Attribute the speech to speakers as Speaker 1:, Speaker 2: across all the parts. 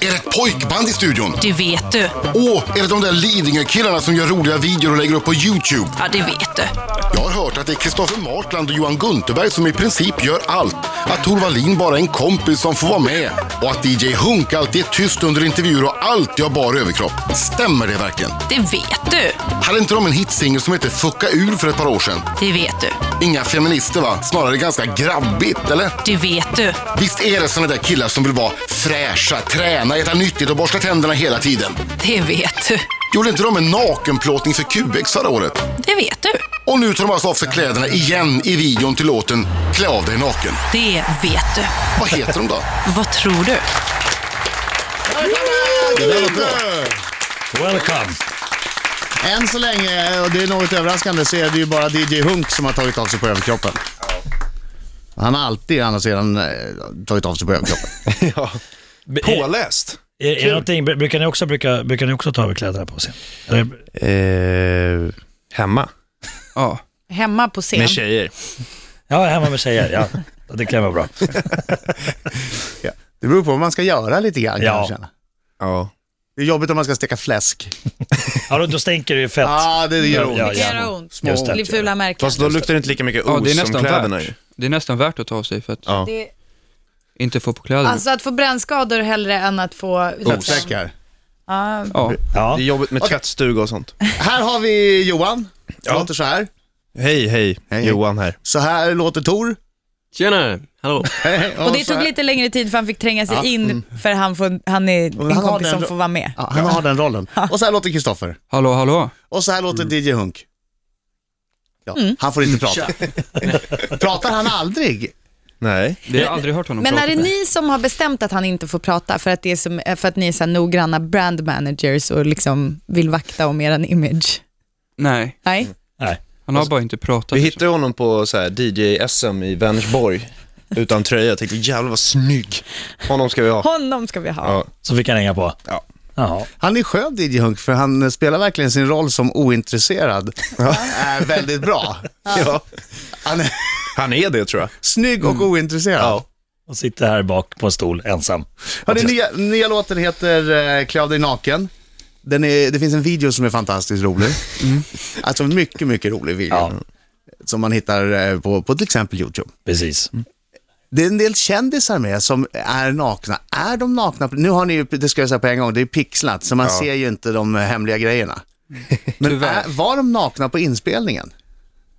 Speaker 1: Är det ett pojkband i studion?
Speaker 2: Det vet du.
Speaker 1: Åh, är det de där Lidingö-killarna som gör roliga videor och lägger upp på YouTube?
Speaker 2: Ja, det vet du.
Speaker 1: Jag har hört att det är Kristoffer Martland och Johan Gunterberg som i princip gör allt. Att Tor Wallin bara är en kompis som får vara med. Och att DJ Hunk alltid är tyst under intervjuer och alltid har bar överkropp. Stämmer det verkligen?
Speaker 2: Det vet du.
Speaker 1: Hade inte de en hitsingel som hette Fucka ur för ett par år sedan?
Speaker 2: Det vet du.
Speaker 1: Inga feminister va? Snarare ganska grabbigt, eller?
Speaker 2: Det vet du.
Speaker 1: Visst är det såna där killar som vill vara fräscha, träna, äta nyttigt och borsta tänderna hela tiden?
Speaker 2: Det vet du.
Speaker 1: Gjorde inte de en nakenplåtning för QX förra året?
Speaker 2: Det vet du.
Speaker 1: Och nu tar de alltså av sig kläderna igen i videon till låten Klä av dig naken.
Speaker 2: Det vet du.
Speaker 1: Vad heter de då?
Speaker 2: Vad tror du?
Speaker 3: Welcome.
Speaker 4: Än så länge, eh, och det är något överraskande, så är det ju bara DJ Hunk som har tagit av sig på överkroppen. Han har alltid å andra sidan eh, tagit av sig på överkroppen.
Speaker 5: ja.
Speaker 3: B- är,
Speaker 5: Påläst.
Speaker 3: är det någonting, br- brukar ni också, brukar, brukar ni också ta av er kläderna på scen? Eller,
Speaker 5: Eh, hemma.
Speaker 6: Ja.
Speaker 7: Hemma på scen.
Speaker 5: Med tjejer.
Speaker 3: ja, hemma med tjejer, ja. Det klämmer bra.
Speaker 4: Det beror på vad man ska göra lite grann
Speaker 3: Ja.
Speaker 4: kan jag känna.
Speaker 5: Ja.
Speaker 4: Det är jobbigt om man ska steka fläsk.
Speaker 3: Ja, då, då stänker det ju fett.
Speaker 4: ah, det gör ont.
Speaker 3: Ja,
Speaker 7: Det kan göra ont.
Speaker 3: Just det.
Speaker 7: Blir fula märken.
Speaker 5: Fast då luktar det inte lika mycket
Speaker 6: ja,
Speaker 5: os
Speaker 6: det är
Speaker 5: som
Speaker 6: nästan
Speaker 5: kläderna ju.
Speaker 6: värt. Det är nästan värt att ta av sig för att
Speaker 5: Ja.
Speaker 7: Det,
Speaker 6: inte få på kläderna.
Speaker 7: alltså att få brännskador hellre än att få...
Speaker 4: Fläskar.
Speaker 7: Ja,
Speaker 6: ja.
Speaker 3: Ja.
Speaker 5: Det är jobbigt med
Speaker 4: Okej.
Speaker 5: tvättstuga och sånt.
Speaker 4: Här har vi Johan.
Speaker 5: Ja.
Speaker 4: Låter så här.
Speaker 5: Hej, hej,
Speaker 4: Hej.
Speaker 5: Johan här.
Speaker 4: Så här låter Tor.
Speaker 8: Tjenare, hallå.
Speaker 7: Och det tog lite längre tid för han fick tränga sig
Speaker 4: Ja, mm.
Speaker 7: in för han, får, han är
Speaker 4: han
Speaker 7: en
Speaker 4: har
Speaker 7: kompis
Speaker 4: den
Speaker 7: som
Speaker 4: ro-
Speaker 7: får vara med.
Speaker 4: Ja, han har den rollen. Och så här låter Kristoffer.
Speaker 6: Hallå, hallå.
Speaker 4: Och så här låter
Speaker 5: Mm.
Speaker 4: DJ Hunk. Ja, Han får inte prata. Pratar han aldrig?
Speaker 5: Nej.
Speaker 6: Det har jag aldrig hört honom
Speaker 7: Men
Speaker 6: prata
Speaker 7: är det
Speaker 6: med.
Speaker 7: ni som har bestämt att han inte får prata för att, det är som, för att ni är så här noggranna brand managers och liksom vill vakta om er image?
Speaker 6: Nej,
Speaker 7: Nej?
Speaker 6: han har bara inte pratat.
Speaker 5: Alltså, Vi
Speaker 6: liksom.
Speaker 5: hittade honom på så här DJ-SM i Vänersborg. Utan tröja. Jag tänkte jävlar vad snygg. Honom ska vi ha.
Speaker 7: Honom ska vi ha.
Speaker 5: Ja.
Speaker 3: Så fick han hänga på.
Speaker 5: Ja.
Speaker 3: Jaha.
Speaker 4: Han är skön DJ Hunk för han spelar verkligen sin roll som ointresserad. Är väldigt bra.
Speaker 5: Ja.
Speaker 4: Han är
Speaker 5: Han är det tror jag.
Speaker 4: snygg och ointresserad.
Speaker 5: Mm. Ja.
Speaker 3: Och sitter här bak på en stol ensam. Alltså,
Speaker 4: Ja, den nya, nya låten heter eh, Klä av dig naken. Den är, det finns en video som är fantastiskt rolig.
Speaker 5: Mm.
Speaker 4: Alltså en mycket, mycket rolig video.
Speaker 3: Ja,
Speaker 4: Som man hittar eh, på, på till exempel YouTube.
Speaker 3: precis.
Speaker 4: Det är en del kändisar med som är nakna. Är de nakna? Nu har ni ju, det ska jag säga på en gång, det är pixlat så man ser ju inte de eh, hemliga grejerna. Men
Speaker 6: Tyvärr.
Speaker 4: är, var de nakna på inspelningen?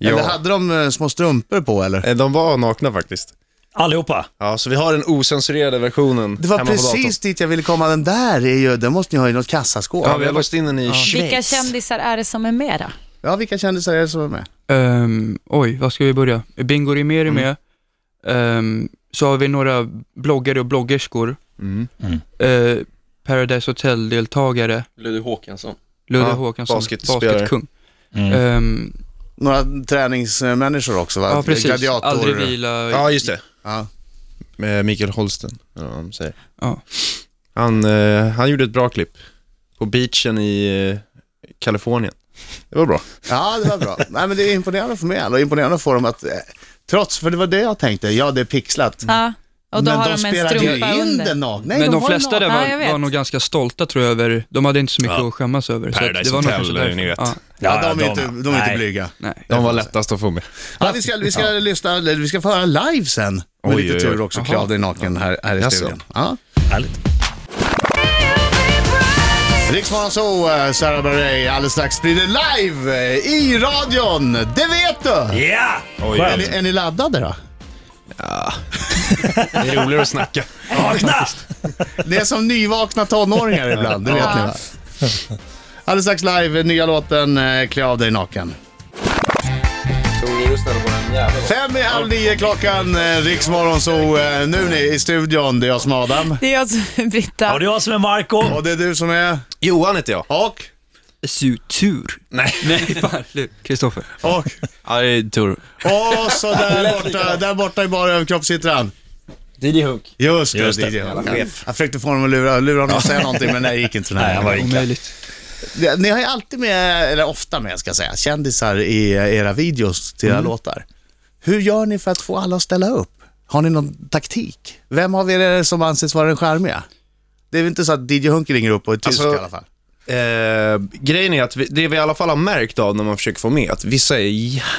Speaker 4: Eller
Speaker 5: ja.
Speaker 4: hade de eh, små strumpor på eller?
Speaker 5: Eh, De var nakna faktiskt.
Speaker 3: Allihopa.
Speaker 5: Ja, så vi har den ocensurerade versionen
Speaker 4: Det var
Speaker 5: hemma på datorn.
Speaker 4: precis dit jag ville komma. Den där är ju, den måste ni ha i något kassaskåp.
Speaker 5: Ja, vi har låst in den i Schweiz.
Speaker 7: Vilka kändisar är det som är med då?
Speaker 4: Ja, vilka kändisar är det som är med?
Speaker 6: Ehm, oj, var ska vi börja? Bingo Rimér är
Speaker 5: Mm.
Speaker 6: med. Ehm, så har vi några bloggare och bloggerskor.
Speaker 5: Mm.
Speaker 6: Eh, Paradise Hotel-deltagare.
Speaker 8: Ludde Håkansson.
Speaker 6: Ludde
Speaker 5: Ja,
Speaker 6: Håkansson,
Speaker 5: basketspelare.
Speaker 6: basketkung.
Speaker 3: Mm.
Speaker 6: Ehm,
Speaker 4: Några träningsmänniskor också va?
Speaker 6: ja, precis.
Speaker 4: Gladiator.
Speaker 6: Aldrig vila. Ja.
Speaker 5: Ja, just det.
Speaker 4: Ja.
Speaker 5: Med Mikael Holsten, eller vad de säger. Han, eh, han gjorde ett bra klipp på beachen i eh, Kalifornien. Det var bra.
Speaker 4: ja, det var bra. Nej, men det är imponerande för mig alla. Imponerande för dem att, eh, trots, för det var det jag tänkte, ja det är pixlat.
Speaker 7: Ja. Och då
Speaker 4: men
Speaker 7: har
Speaker 4: de
Speaker 7: de, en
Speaker 4: spelade
Speaker 7: strumpa
Speaker 4: ju in
Speaker 7: under.
Speaker 4: den nakna. Nej,
Speaker 6: Men de
Speaker 4: har ju
Speaker 6: flesta där
Speaker 4: nakna.
Speaker 7: Ja, jag
Speaker 6: var,
Speaker 7: vet.
Speaker 6: var nog ganska stolta tror jag över, de hade inte så mycket att skämmas över. Så att
Speaker 5: Paradise
Speaker 6: det var nog
Speaker 5: Hotel,
Speaker 6: kanske därför.
Speaker 5: ni vet.
Speaker 6: Ja,
Speaker 4: Ja, de är
Speaker 3: ja,
Speaker 4: inte, de är inte
Speaker 3: nej.
Speaker 4: blyga.
Speaker 6: nej.
Speaker 5: De var lättast att få med.
Speaker 4: Ja, vi ska, vi ska lyssna, eller vi ska få höra live sen. Med
Speaker 5: Oj,
Speaker 4: lite
Speaker 5: oj, oj.
Speaker 4: tur också, klä av dig naken här, här i
Speaker 5: Jaså.
Speaker 4: studion. Ja.
Speaker 3: Härligt.
Speaker 4: Riksmorgon så, eh, Sarah Bareilles, alldeles strax blir det live eh, i radion. Det vet du!
Speaker 3: Ja!
Speaker 5: Oj,
Speaker 4: Är ni,
Speaker 3: Skönt.
Speaker 4: är ni laddade då?
Speaker 5: Det är roligare att snacka.
Speaker 3: Vakna!
Speaker 4: Det är som nyvakna tonåringar ibland, det vet ni va? Alldeles strax live, nya låten eh, Klä av dig naken. Fem i halv nio klockan, eh, Riksmorgon så eh, nu är ni i studion, det är jag som är Adam.
Speaker 7: Det är jag som är
Speaker 3: Och
Speaker 7: Britta.
Speaker 3: det är jag som är Marco.
Speaker 4: Och det är du som är...
Speaker 5: Johan heter jag.
Speaker 4: Och?
Speaker 6: Sutur.
Speaker 5: Nej.
Speaker 6: Nej, fan. Kristoffer.
Speaker 4: Och?
Speaker 5: Ja, det är tur.
Speaker 4: Och så där borta, där borta i bara överkropp sitter han.
Speaker 5: Didi Hunk.
Speaker 4: Just det,
Speaker 3: Just det.
Speaker 4: DJ. Jag försökte få honom att lura, lura honom att säga någonting, men det gick inte den
Speaker 3: Nej,
Speaker 4: här
Speaker 3: han var
Speaker 4: gången.
Speaker 3: vika.
Speaker 6: Omöjligt.
Speaker 4: Det- Ni har ju alltid med, eller ofta med ska jag säga, kändisar i eh, era videos till
Speaker 3: Mm.
Speaker 4: era låtar. Hur gör ni för att få alla att ställa upp? Har ni någon taktik? Vem av er är det som anses vara den charmiga? Det är väl inte så att DJ Hunk ringer upp och är tysk
Speaker 5: Alltså-
Speaker 4: i alla fall?
Speaker 5: Eh, grejen är att vi, det vi i alla fall har märkt av när man försöker få med, att vissa är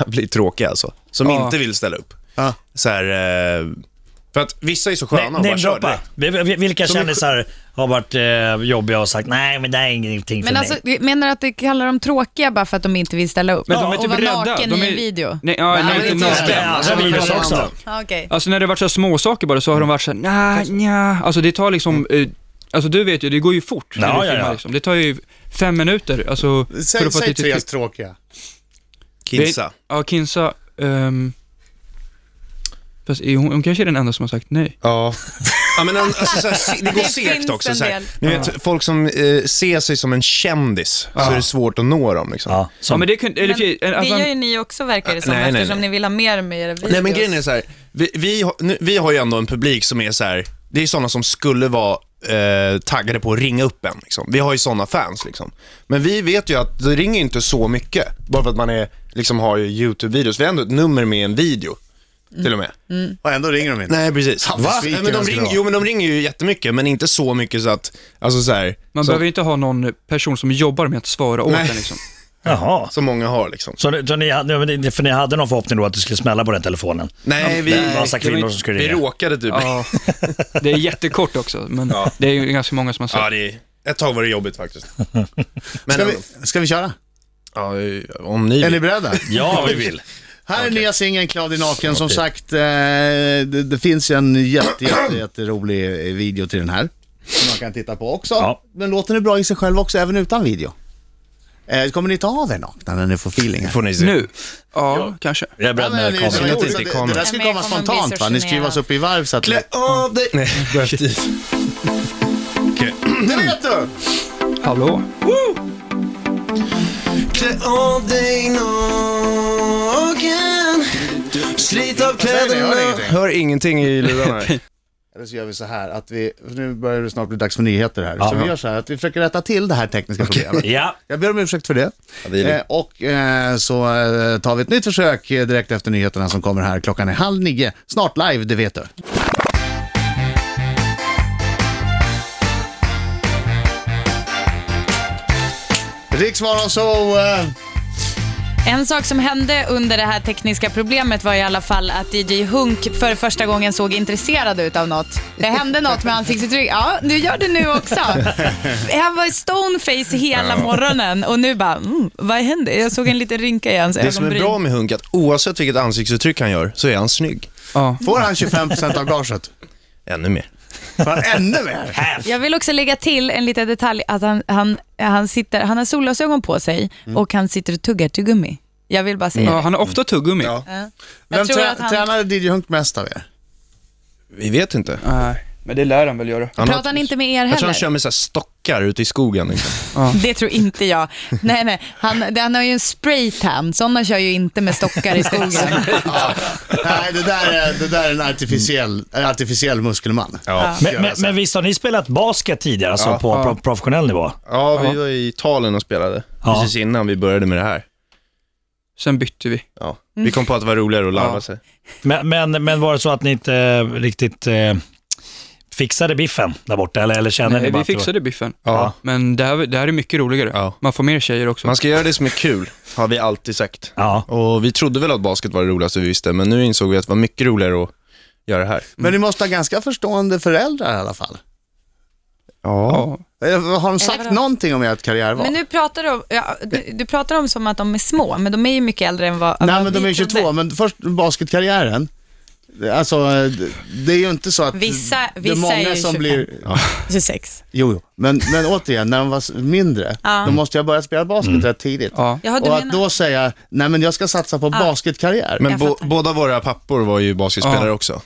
Speaker 5: jävligt tråkiga alltså. Som
Speaker 6: Ja.
Speaker 5: inte vill ställa upp.
Speaker 4: Ja.
Speaker 5: Så här, eh, för att vissa är så sköna och bara kör
Speaker 3: Namedroppa.
Speaker 5: direkt.
Speaker 3: Vi- vi- Vilka
Speaker 5: Som är-
Speaker 3: kändisar har varit eh, jobbiga och sagt nej men det här är ingenting för
Speaker 7: Men alltså,
Speaker 3: mig.
Speaker 7: menar du att du kallar dem tråkiga bara för att de inte vill ställa upp?
Speaker 6: Men de är
Speaker 7: och
Speaker 6: typ
Speaker 7: vara
Speaker 6: rädda.
Speaker 7: naken
Speaker 6: De
Speaker 7: i
Speaker 6: är-
Speaker 7: en video?
Speaker 6: Nej, ja, nej,
Speaker 4: det är
Speaker 6: inte
Speaker 4: inte
Speaker 6: naken.
Speaker 4: det.
Speaker 3: Ja, alltså,
Speaker 4: vi
Speaker 3: vi
Speaker 4: kallar
Speaker 3: också.
Speaker 4: andra.
Speaker 7: Ja, okej.
Speaker 6: Alltså när det har varit så här småsaker bara så har de varit såhär, nja, nja. Alltså det tar liksom, eh, alltså du vet ju, det går ju fort när
Speaker 3: Ja,
Speaker 6: du
Speaker 3: ja,
Speaker 6: filmar
Speaker 3: ja.
Speaker 6: liksom. Det tar ju fem minuter, alltså för
Speaker 4: Säg,
Speaker 6: att få
Speaker 4: säg
Speaker 6: ett
Speaker 4: tre
Speaker 6: litet klipp.
Speaker 4: tråkiga.
Speaker 5: Kinsa.
Speaker 6: Ja, Kinsa, ehm, fast är hon, hon kanske är den enda som har sagt nej.
Speaker 5: Ja. ja men an- alltså, så här, se- det går
Speaker 7: Det finns
Speaker 5: segt också.
Speaker 7: en
Speaker 5: Så här.
Speaker 7: del.
Speaker 5: Ni vet, folk som eh, ser sig som en kändis, så är det svårt att nå dem. Liksom.
Speaker 3: Ja,
Speaker 6: Ja
Speaker 3: som,
Speaker 6: men det kunde, eller,
Speaker 7: Men
Speaker 6: för-
Speaker 7: det
Speaker 6: alltså,
Speaker 7: gör ju ni också verkar det som,
Speaker 5: Nej, nej, nej.
Speaker 7: eftersom ni vill ha mer med era videos.
Speaker 5: Nej men grejen är så här, vi, vi, har- nu, vi har ju ändå en publik som är så här, det är sådana som skulle vara eh, taggade på att ringa upp en. Liksom. Vi har ju sådana fans liksom. Men vi vet ju att det ringer ju inte så mycket, bara för att man är, liksom, har ju YouTube-videos. Vi har ändå ett nummer med en video, till och med.
Speaker 7: Mm.
Speaker 4: Och ändå ringer de inte.
Speaker 5: Nej precis.
Speaker 4: Fan, vad
Speaker 5: Nej,
Speaker 4: sviken
Speaker 5: men de
Speaker 4: jag skulle
Speaker 5: ringer,
Speaker 4: vara.
Speaker 5: jo men de ringer ju jättemycket, men inte så mycket så att, alltså så här,
Speaker 6: man
Speaker 5: så,
Speaker 6: behöver ju inte ha någon person som jobbar med att svara åt
Speaker 5: Nej.
Speaker 6: en liksom.
Speaker 3: jaha.
Speaker 5: som många har liksom.
Speaker 3: Så, ni- så ni, hade- nej, men det- för ni hade någon förhoppning då att det skulle smälla på den telefonen?
Speaker 5: Nej, vi,
Speaker 3: en massa kvinnor som skulle
Speaker 5: vi
Speaker 3: ringa.
Speaker 5: råkade typ. Ja.
Speaker 6: Ja, det är jättekort också, men det är ju ganska många som har sagt.
Speaker 5: det är, ett tag var det jobbigt faktiskt. Men
Speaker 4: Ska
Speaker 5: ändå.
Speaker 4: vi, ska vi köra?
Speaker 5: Ja, om ni
Speaker 4: Är
Speaker 5: vill.
Speaker 4: ni beredda?
Speaker 3: Ja, vi vill.
Speaker 4: Här är nya singeln Claudio Naken. Som sagt, eh, det, det finns ju en jätte, jätte, jätterolig eh, video till den här. Som man kan titta på också.
Speaker 3: Ja.
Speaker 4: Men låten är bra i sig själv också, även utan video. Eh, kommer ni ta av er nakna när ni får feeling? Här?
Speaker 5: får ni se.
Speaker 6: Nu? Ja, kanske.
Speaker 3: Jag är beredd
Speaker 4: Ja, men
Speaker 3: när
Speaker 4: det- det-
Speaker 3: det kommer.
Speaker 5: Synd att det
Speaker 4: det-
Speaker 5: inte
Speaker 4: det-
Speaker 5: kommer.
Speaker 4: Det där
Speaker 7: Men
Speaker 4: skulle
Speaker 7: jag
Speaker 4: komma
Speaker 7: kommer bli
Speaker 4: spontant
Speaker 7: så
Speaker 4: va? Ni skrivas
Speaker 7: generad.
Speaker 4: upp i varv så att...
Speaker 5: Klä av dig! Nej, Okej.
Speaker 4: Det vet du!
Speaker 6: Hallå?
Speaker 5: Klä av dig naken Slit av
Speaker 4: säger ni? Jag hör
Speaker 5: kläderna
Speaker 4: ingenting.
Speaker 5: Hör ingenting i lurarna här.
Speaker 4: Eller så gör vi så här att vi, för nu börjar det snart bli dags för nyheter här. Så
Speaker 3: Ja.
Speaker 4: vi gör så här att vi försöker rätta till det här tekniska problemet.
Speaker 3: Ja,
Speaker 4: Jag ber om ursäkt för det.
Speaker 5: det är lugnt.
Speaker 4: eh, och eh, så eh, tar vi ett nytt försök eh, direkt efter nyheterna som kommer här. Klockan är halv nio. Snart live, det vet du. Riksmorgon så... Eh,
Speaker 7: En sak som hände under det här tekniska problemet var i alla fall att DJ Hunk för första gången såg intresserad ut av något. Det hände något med ansiktsuttryck. Ja, du gör det nu också. Han var stoneface hela morgonen och nu bara, mm, vad hände? Jag såg en liten rynka i hans
Speaker 5: Det som är
Speaker 7: ögonbryn.
Speaker 5: bra med Hunk är att oavsett vilket ansiktsuttryck han gör så är han snygg.
Speaker 6: Ja.
Speaker 4: får han 25% av gaget?
Speaker 5: Ännu mer.
Speaker 4: Får han ännu mer?
Speaker 3: half.
Speaker 7: Jag vill också lägga till en liten detalj att han, han, han, sitter, han har solglasögon på sig
Speaker 5: Mm.
Speaker 7: och han sitter och tuggar tuggummi. Jag vill bara säga
Speaker 6: ja, han har ofta tuggummi.
Speaker 5: Ja.
Speaker 7: det. Jag
Speaker 4: Vem
Speaker 7: tror
Speaker 4: trä-
Speaker 7: att han-
Speaker 4: tränade DJ Hunk mest av er?
Speaker 5: Vi vet inte.
Speaker 6: Nej, men det lär han väl göra.
Speaker 5: Han
Speaker 7: Pratar han inte med er
Speaker 5: jag tror han
Speaker 7: heller?
Speaker 5: kör med så här stockar ute i skogen. Liksom.
Speaker 7: Det tror inte jag. Nej, nej. Han, han har ju en spraytan. Sådana kör ju inte med stockar i skogen.
Speaker 4: Ja. Nej, det där är, det där är en artificiell, en artificiell muskelman.
Speaker 5: Ja.
Speaker 3: Men, men, men visst har ni spelat basket tidigare, alltså på
Speaker 6: Ja.
Speaker 3: pro- professionell nivå?
Speaker 5: ja, vi var i Italien och spelade
Speaker 3: Ja.
Speaker 5: precis innan vi började med det här.
Speaker 6: Sen bytte vi.
Speaker 5: Ja. Vi kom på att det var roligare att larva
Speaker 6: Ja.
Speaker 5: sig.
Speaker 3: Men, men, men var det så att ni inte eh, riktigt eh, fixade biffen där borta, eller, eller kände ni
Speaker 6: Nej,
Speaker 3: bara
Speaker 6: vi
Speaker 3: att det var-
Speaker 6: fixade biffen.
Speaker 5: Ja.
Speaker 6: Men det här, det här är mycket roligare.
Speaker 5: Ja.
Speaker 6: Man får mer tjejer också.
Speaker 5: Man ska göra det som är kul, har vi alltid sagt.
Speaker 3: Ja.
Speaker 5: Och vi trodde väl att basket var det roligaste vi visste, men nu insåg vi att det var mycket roligare att göra det här.
Speaker 4: Men ni måste ha ganska förstående föräldrar i alla fall.
Speaker 6: ja.
Speaker 4: Eh, Har de sagt
Speaker 7: vadå?
Speaker 4: någonting om ert karriärval?
Speaker 7: Men nu pratar du, om, ja, du, du pratar om som att de är små, men de är ju mycket äldre än vad
Speaker 4: Nej,
Speaker 7: vad
Speaker 4: men de
Speaker 7: Alltså, vi
Speaker 4: är ju
Speaker 7: trodde.
Speaker 4: 22, men först basketkarriären. Alltså, eh, d- det är ju inte så att...
Speaker 7: Vissa-
Speaker 4: det är
Speaker 7: vissa
Speaker 4: många
Speaker 7: är ju
Speaker 4: som
Speaker 7: 25.
Speaker 4: blir...
Speaker 7: 26.
Speaker 4: Jo, jo. Men, men återigen, när de var s- mindre,
Speaker 7: Ja.
Speaker 4: då måste jag börja spela basket rätt tidigt.
Speaker 6: ja.
Speaker 7: Jaha, du
Speaker 4: Och att
Speaker 7: menar...
Speaker 4: då säga, nej men jag ska satsa på basketkarriär.
Speaker 5: Men
Speaker 7: Jag
Speaker 5: bo-
Speaker 7: fattar.
Speaker 5: båda våra pappor var ju basketspelare
Speaker 6: Ja. Mhm.
Speaker 5: också.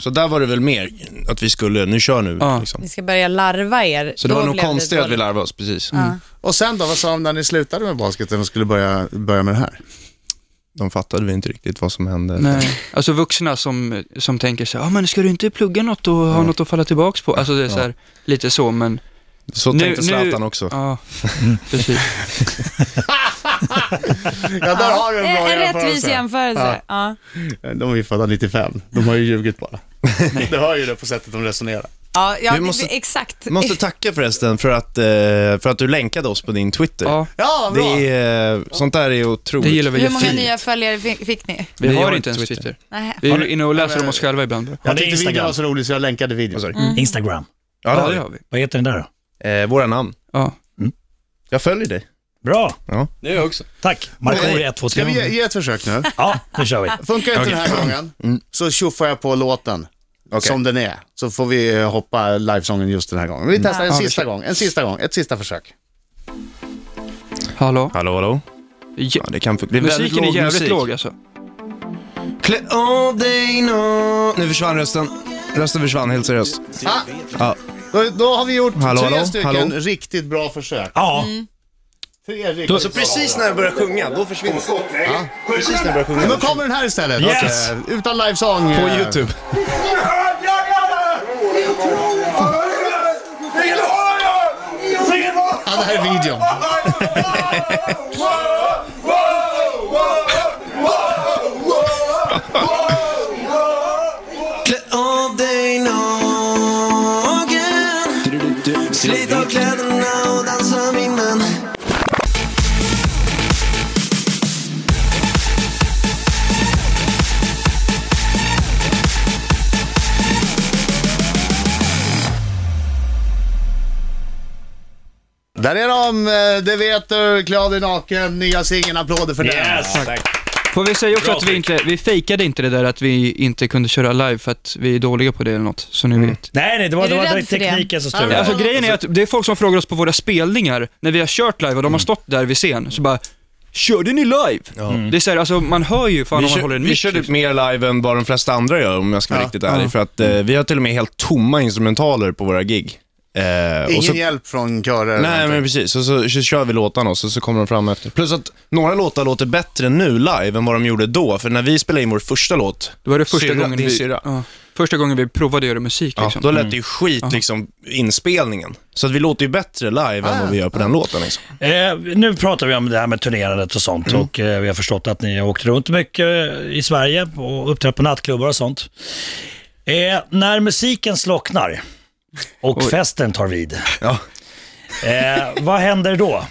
Speaker 5: Så där var det väl mer att vi skulle, nu kör nu.
Speaker 6: Ja.
Speaker 5: Liksom.
Speaker 7: Ni ska börja larva er.
Speaker 5: Så det
Speaker 7: Då
Speaker 5: var nog
Speaker 7: blev
Speaker 5: konstigt att vi
Speaker 7: dåligt.
Speaker 5: larvade oss, precis.
Speaker 4: Och sen då, vad sa de när ni slutade med basketen och skulle börja, börja med det här?
Speaker 5: De fattade vi inte riktigt vad som hände.
Speaker 6: Nej. Alltså vuxna som, som tänker så här, ah, men ska du inte plugga något och ha något att falla tillbaks på? Alltså det är så här, lite så, men
Speaker 5: Så
Speaker 6: Nu-
Speaker 5: tänkte Zlatan
Speaker 6: nu-
Speaker 5: också.
Speaker 6: ja, precis.
Speaker 4: Ja, där har du en bra
Speaker 7: Eh, En, en rättvis
Speaker 4: jämförelse.
Speaker 7: jämförelse. Ja.
Speaker 4: Eh, De är ju födda 95, de har ju ljugit bara. det hör ju det på sättet de resonerar.
Speaker 7: Ja, ja
Speaker 5: Vi måste-
Speaker 7: exakt.
Speaker 5: Måste tacka förresten för att, eh, för att du länkade oss på din Twitter.
Speaker 6: Ja,
Speaker 4: Ja, bra.
Speaker 5: det är, eh, sånt där är otroligt.
Speaker 6: det gillar vi
Speaker 7: Hur många
Speaker 6: jättefint.
Speaker 7: nya följare fi- fick ni?
Speaker 6: Vi har inte ens Twitter.
Speaker 7: Nej.
Speaker 6: Vi är inne och läser om oss själva ibland. bara.
Speaker 3: Ja,
Speaker 4: Jag
Speaker 3: det är
Speaker 4: tyckte videon var
Speaker 3: Instagram.
Speaker 4: så rolig så jag länkade videon.
Speaker 5: Vad sa du?
Speaker 3: Instagram.
Speaker 5: Ja, det
Speaker 6: Ja,
Speaker 5: har
Speaker 6: det
Speaker 5: vi.
Speaker 6: har vi.
Speaker 3: Vad heter den där då?
Speaker 5: Eh, våra namn.
Speaker 6: Ja.
Speaker 5: Jag följer dig.
Speaker 3: Bra,
Speaker 8: Det gör jag också.
Speaker 3: tack. Markoolio 1, 2,
Speaker 4: Ska
Speaker 3: 3.
Speaker 4: vi ge, ge ett försök nu?
Speaker 3: Ja, nu kör vi.
Speaker 4: Funkar inte den här gången, så tjoffar jag på låten
Speaker 5: Okej.
Speaker 4: som den är. Så får vi eh, hoppa livesången just den här gången. Vi testar en
Speaker 6: Ja, vi
Speaker 4: sista gång, en sista gång, ett sista försök.
Speaker 6: Hallå?
Speaker 5: Hallå, hallå.
Speaker 6: Ja,
Speaker 5: Ja, det kan funka. Det är väldigt
Speaker 6: musiken är
Speaker 5: låg
Speaker 6: jävligt
Speaker 5: musik.
Speaker 6: låg alltså.
Speaker 5: Klä av dig nå... Nu försvann rösten. Rösten försvann helt seriöst.
Speaker 4: Ah,
Speaker 5: Ja.
Speaker 4: då, då har vi gjort
Speaker 5: Hallå,
Speaker 4: tre
Speaker 5: hallå,
Speaker 4: stycken
Speaker 5: hallå.
Speaker 4: riktigt bra försök.
Speaker 3: Ja,
Speaker 4: Tre riktigt bra.
Speaker 5: när jag börjar sjunga, då försvinner ja. Precis när jag börjar sjunga.
Speaker 4: Men då kommer den här istället.
Speaker 3: Yes.
Speaker 4: Okej, Utan livesång.
Speaker 5: På
Speaker 4: eh,
Speaker 5: YouTube.
Speaker 4: Ja, det här är videon.
Speaker 5: Klä av dig naken Slit av kläderna och dansa min man
Speaker 4: Där är de, eh, det vet du, Glad i naken, nya singeln, applåder för den.
Speaker 3: yes.
Speaker 6: Får vi säga också att vi inte, vi fejkade inte det där att vi inte kunde köra live för att vi är dåliga på det eller något, så ni
Speaker 5: Mm.
Speaker 6: vet.
Speaker 3: Nej, nej, det var,
Speaker 7: Är
Speaker 3: det
Speaker 7: du
Speaker 3: var
Speaker 7: rädd för det?
Speaker 3: tekniken som
Speaker 7: Ja.
Speaker 3: strulade.
Speaker 6: Alltså grejen är att det är folk som frågar oss på våra spelningar, när vi har kört live och
Speaker 5: Mm.
Speaker 6: de har stått där vid scen, så bara Körde ni live? Det är så här, alltså man hör ju fan
Speaker 5: Vi,
Speaker 6: om man håller
Speaker 5: kör,
Speaker 6: en
Speaker 5: vi
Speaker 6: mick.
Speaker 5: kör typ
Speaker 6: liksom.
Speaker 5: mer live än vad de flesta andra gör om jag ska vara
Speaker 4: Ja.
Speaker 5: riktigt ärlig. För att eh, vi har till och med helt tomma instrumentaler på våra gig. Eh, och
Speaker 4: Ingen
Speaker 5: så,
Speaker 4: hjälp från körer.
Speaker 5: Nej men precis, och så, så kör vi låtarna och så, så kommer de fram efter. Plus att några låtar låter bättre nu live än vad de gjorde då. För när vi spelade in vår första låt,
Speaker 6: Det var det första
Speaker 5: syrra,
Speaker 6: gången
Speaker 5: din
Speaker 6: vi,
Speaker 5: syrra.
Speaker 6: ja, första gången vi provade att göra musik
Speaker 5: Ja,
Speaker 6: liksom.
Speaker 5: då lät det ju skit liksom inspelningen. Så att vi låter ju bättre live än vad vi gör
Speaker 6: Ah.
Speaker 5: på den låten liksom.
Speaker 3: Eh, nu pratar vi om det här med turnerandet och sånt och eh, vi har förstått att ni har åkt runt mycket eh, i Sverige och uppträtt på nattklubbar och sånt. Eh, när musiken slocknar och festen tar vid,
Speaker 5: Ja.
Speaker 3: eh, vad händer då?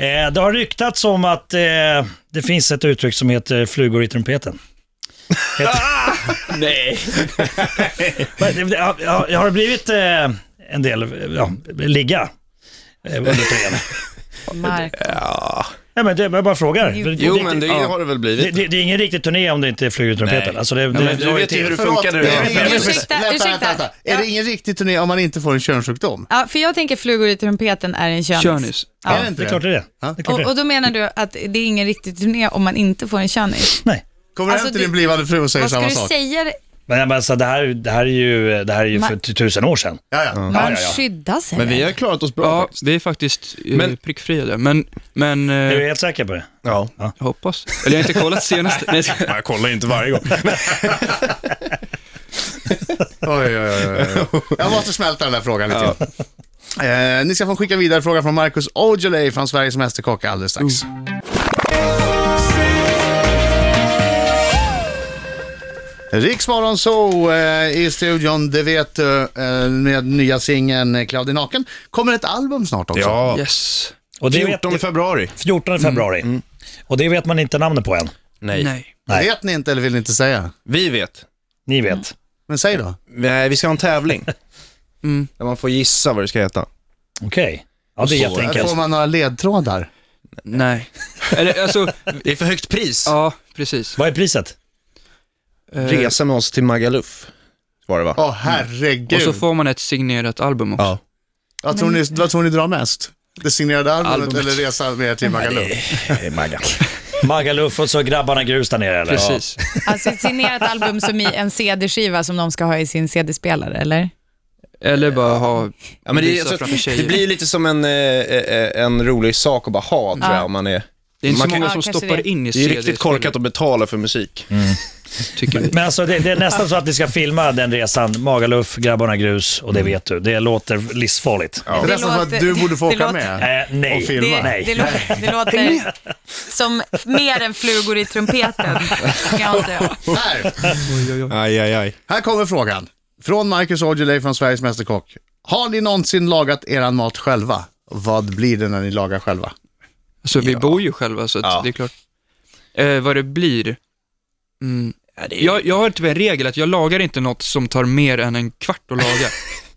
Speaker 3: Eh, det har ryktats om att eh, det finns ett uttryck som heter flugor i trumpeten. Heter...
Speaker 8: Nej.
Speaker 3: Men det- det- ja, ja, Har det blivit eh, en del ja, ligga eh, under turnén?
Speaker 7: Mark.
Speaker 3: Nej, men det, jag bara frågar.
Speaker 5: Jo men det
Speaker 6: Ja.
Speaker 5: har det väl
Speaker 3: Det,
Speaker 5: blivit.
Speaker 3: det, det är ingen riktig turné om det inte är flugor i trumpeten.
Speaker 5: Nej.
Speaker 3: Alltså det, det,
Speaker 5: men
Speaker 3: det
Speaker 5: du
Speaker 3: har ju
Speaker 5: vet ju
Speaker 3: till-
Speaker 5: hur det funkar det
Speaker 4: det är
Speaker 5: där.
Speaker 4: ingen-
Speaker 7: Ursäkta,
Speaker 4: Vänta, vänta,
Speaker 7: ursäkta.
Speaker 4: vänta. Är det
Speaker 7: Ja.
Speaker 4: ingen riktig turné om man inte får en könssjukdom?
Speaker 7: Ja, för jag tänker flugor i trumpeten är en könis.
Speaker 6: Körnis.
Speaker 4: Är det
Speaker 3: Det
Speaker 4: inte
Speaker 3: är klart det är det. det, är klart det,
Speaker 7: Och,
Speaker 3: är
Speaker 7: och
Speaker 3: det.
Speaker 7: då menar du att det är ingen riktig turné om man inte får en könis?
Speaker 3: Nej.
Speaker 4: Kommer
Speaker 7: Alltså,
Speaker 4: hem till
Speaker 7: du-
Speaker 4: din blivande fru och säger
Speaker 7: Vad ska
Speaker 4: samma
Speaker 7: du
Speaker 4: sak?
Speaker 7: säga?
Speaker 3: Men, jag menar, så det, här, det här är ju, det här är ju för
Speaker 7: Ma-
Speaker 3: tusen år sedan.
Speaker 4: Ja, ja.
Speaker 7: Man
Speaker 3: ja, ja.
Speaker 7: skyddar sig.
Speaker 5: Men vi har klarat oss bra
Speaker 6: Ja,
Speaker 5: faktiskt.
Speaker 6: vi är faktiskt eh,
Speaker 5: Men-
Speaker 6: prickfria där, men, men eh,
Speaker 3: Är du helt säker på det?
Speaker 5: Ja.
Speaker 6: jag hoppas. Eller jag har inte kollat senaste. Nej, jag ska-
Speaker 5: Jag kollar ju inte varje gång.
Speaker 4: Oj, oj, oj, oj. Jag måste smälta den där frågan lite grann. Eh, ni ska få skicka vidare frågan från Marcus Aujalay från Sveriges Mästerkock alldeles strax.
Speaker 5: Mm.
Speaker 4: Riksmorgon så eh, i studion, det vet du, eh, med nya singeln eh, Cloud i naken. Kommer ett album snart också?
Speaker 5: Ja.
Speaker 6: Yes.
Speaker 3: Och det vet,
Speaker 5: 14 februari.
Speaker 3: 14
Speaker 5: Mm,
Speaker 3: februari. Och det vet man inte namnet på än.
Speaker 6: Nej.
Speaker 3: Nej.
Speaker 4: Vet ni inte eller vill ni inte säga?
Speaker 5: Vi vet.
Speaker 3: Ni
Speaker 7: Mm.
Speaker 3: vet.
Speaker 4: Men säg då.
Speaker 5: Nej, vi ska ha en tävling.
Speaker 6: Mm.
Speaker 5: Där man får gissa vad det ska heta.
Speaker 3: Okej. Ja, det är
Speaker 5: Så,
Speaker 4: Här
Speaker 3: jätteenkelt.
Speaker 4: får man några ledtrådar.
Speaker 6: Nej. Eller alltså,
Speaker 5: Det är för högt pris.
Speaker 6: ja, precis.
Speaker 3: Vad är priset?
Speaker 6: Eh,
Speaker 5: Resa med oss till Magaluf, var det va?
Speaker 4: Åh herregud.
Speaker 6: Och så får man ett signerat album också.
Speaker 5: Ja.
Speaker 4: Vad tror, ni, vad tror ni drar mest? Det signerade albumet,
Speaker 6: Albumet.
Speaker 4: eller resan med er till Magaluf?
Speaker 3: Magaluf och så grabbarna grus där nere eller?
Speaker 6: Precis.
Speaker 7: Alltså ett signerat album som i en CD-skiva som de ska ha i sin CD-spelare, eller?
Speaker 6: Eller bara ha...
Speaker 5: Ja, men det,
Speaker 6: Visa
Speaker 5: alltså,
Speaker 6: framför tjejer.
Speaker 5: det blir ju lite som en, eh, eh, en rolig sak att bara ha, tror jag, om man är...
Speaker 6: Det är inte
Speaker 5: Man
Speaker 6: så
Speaker 5: kan-
Speaker 6: många
Speaker 7: Ja,
Speaker 6: som
Speaker 7: kanske
Speaker 6: stoppar
Speaker 7: det.
Speaker 6: in i
Speaker 5: Det är
Speaker 6: CD
Speaker 5: ju riktigt korkat att betala för musik.
Speaker 6: tycker vi.
Speaker 3: Men alltså det, det är nästan så att ni ska filma den resan. Magaluf, grabbarna grus och det
Speaker 5: Mm.
Speaker 3: vet du. Det låter livsfarligt.
Speaker 4: Det är nästan som att
Speaker 7: låter-
Speaker 4: du borde få
Speaker 7: det
Speaker 4: åka
Speaker 7: låter-
Speaker 4: med.
Speaker 3: Eh, nej.
Speaker 4: Och filma.
Speaker 7: Det,
Speaker 3: Nej.
Speaker 7: det, låter, det låter som mer än flugor i trumpeten. kan jag säga.
Speaker 4: Här,
Speaker 5: Aj, aj, aj.
Speaker 4: här kommer frågan Från Marcus Aujalay från Sveriges Mästerkock. Har ni någonsin lagat eran mat själva? Vad blir det när ni lagar själva?
Speaker 6: Alltså vi bor ju själva så att det är klart. Eh, vad det blir. Mm. jag, jag har typ en regel att jag lagar inte något som tar mer än en kvart att laga.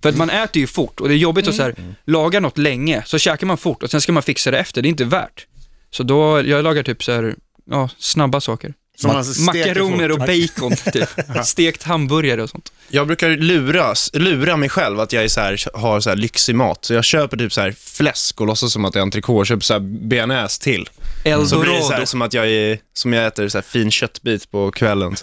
Speaker 6: För att man äter ju fort och det är jobbigt att så här,
Speaker 5: Mm.
Speaker 6: laga något länge, så käkar man fort och sen ska man fixa det efter, det är inte värt. Så då, jag lagar typ så här, ja, snabba saker.
Speaker 4: Som man steker
Speaker 6: Makaroner och
Speaker 4: fort.
Speaker 6: bacon typ. Stekt hamburgare och sånt.
Speaker 5: Jag brukar luras, lura mig själv att jag är så här, har så här lyxig mat. Så jag köper typ så här fläsk och låtsas som att det är entrecote och köper så här bearnaise till. Mm. Så blir det så här
Speaker 6: Eldorado.
Speaker 5: som att jag, är, som jag äter så här fin köttbit på kvällen.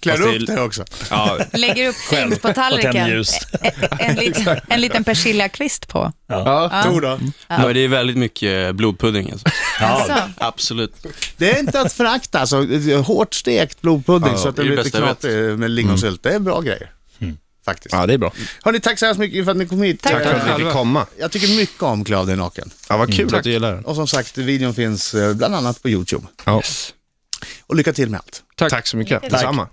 Speaker 4: Klär
Speaker 5: Fast
Speaker 4: du
Speaker 5: det
Speaker 4: upp
Speaker 5: är-
Speaker 4: det också?
Speaker 5: Ja,
Speaker 7: Lägger upp fint på
Speaker 3: Och tänder
Speaker 7: tallriken.
Speaker 3: ljus.
Speaker 7: En, en, liten, en liten persiljekvist på.
Speaker 4: Ja, tror då.
Speaker 8: Ja, det är väldigt mycket blodpudding alltså.
Speaker 7: Alltså,
Speaker 8: Absolut.
Speaker 4: Det är inte att förakta alltså. Det är Hårt stekt blodpudding
Speaker 5: Ja,
Speaker 4: så att
Speaker 8: det
Speaker 4: det
Speaker 8: är
Speaker 4: blir
Speaker 8: det
Speaker 4: lite
Speaker 8: bästa jag vet. Mm.
Speaker 4: knatig med lingonsylt. Det är bra grejer. Faktiskt.
Speaker 5: ja, det är bra.
Speaker 4: Hörni, tack så hemskt mycket för att ni kom hit.
Speaker 7: Tack.
Speaker 5: Tack för att vi fick komma.
Speaker 4: Jag tycker mycket om Claudio Naken.
Speaker 5: Ja, vad kul att du gillar den.
Speaker 4: Och som sagt, videon finns eh, bland annat på YouTube.
Speaker 5: Ja.
Speaker 4: Och lycka till med allt.
Speaker 5: Tack så mycket.
Speaker 3: Tack.
Speaker 5: Detsamma.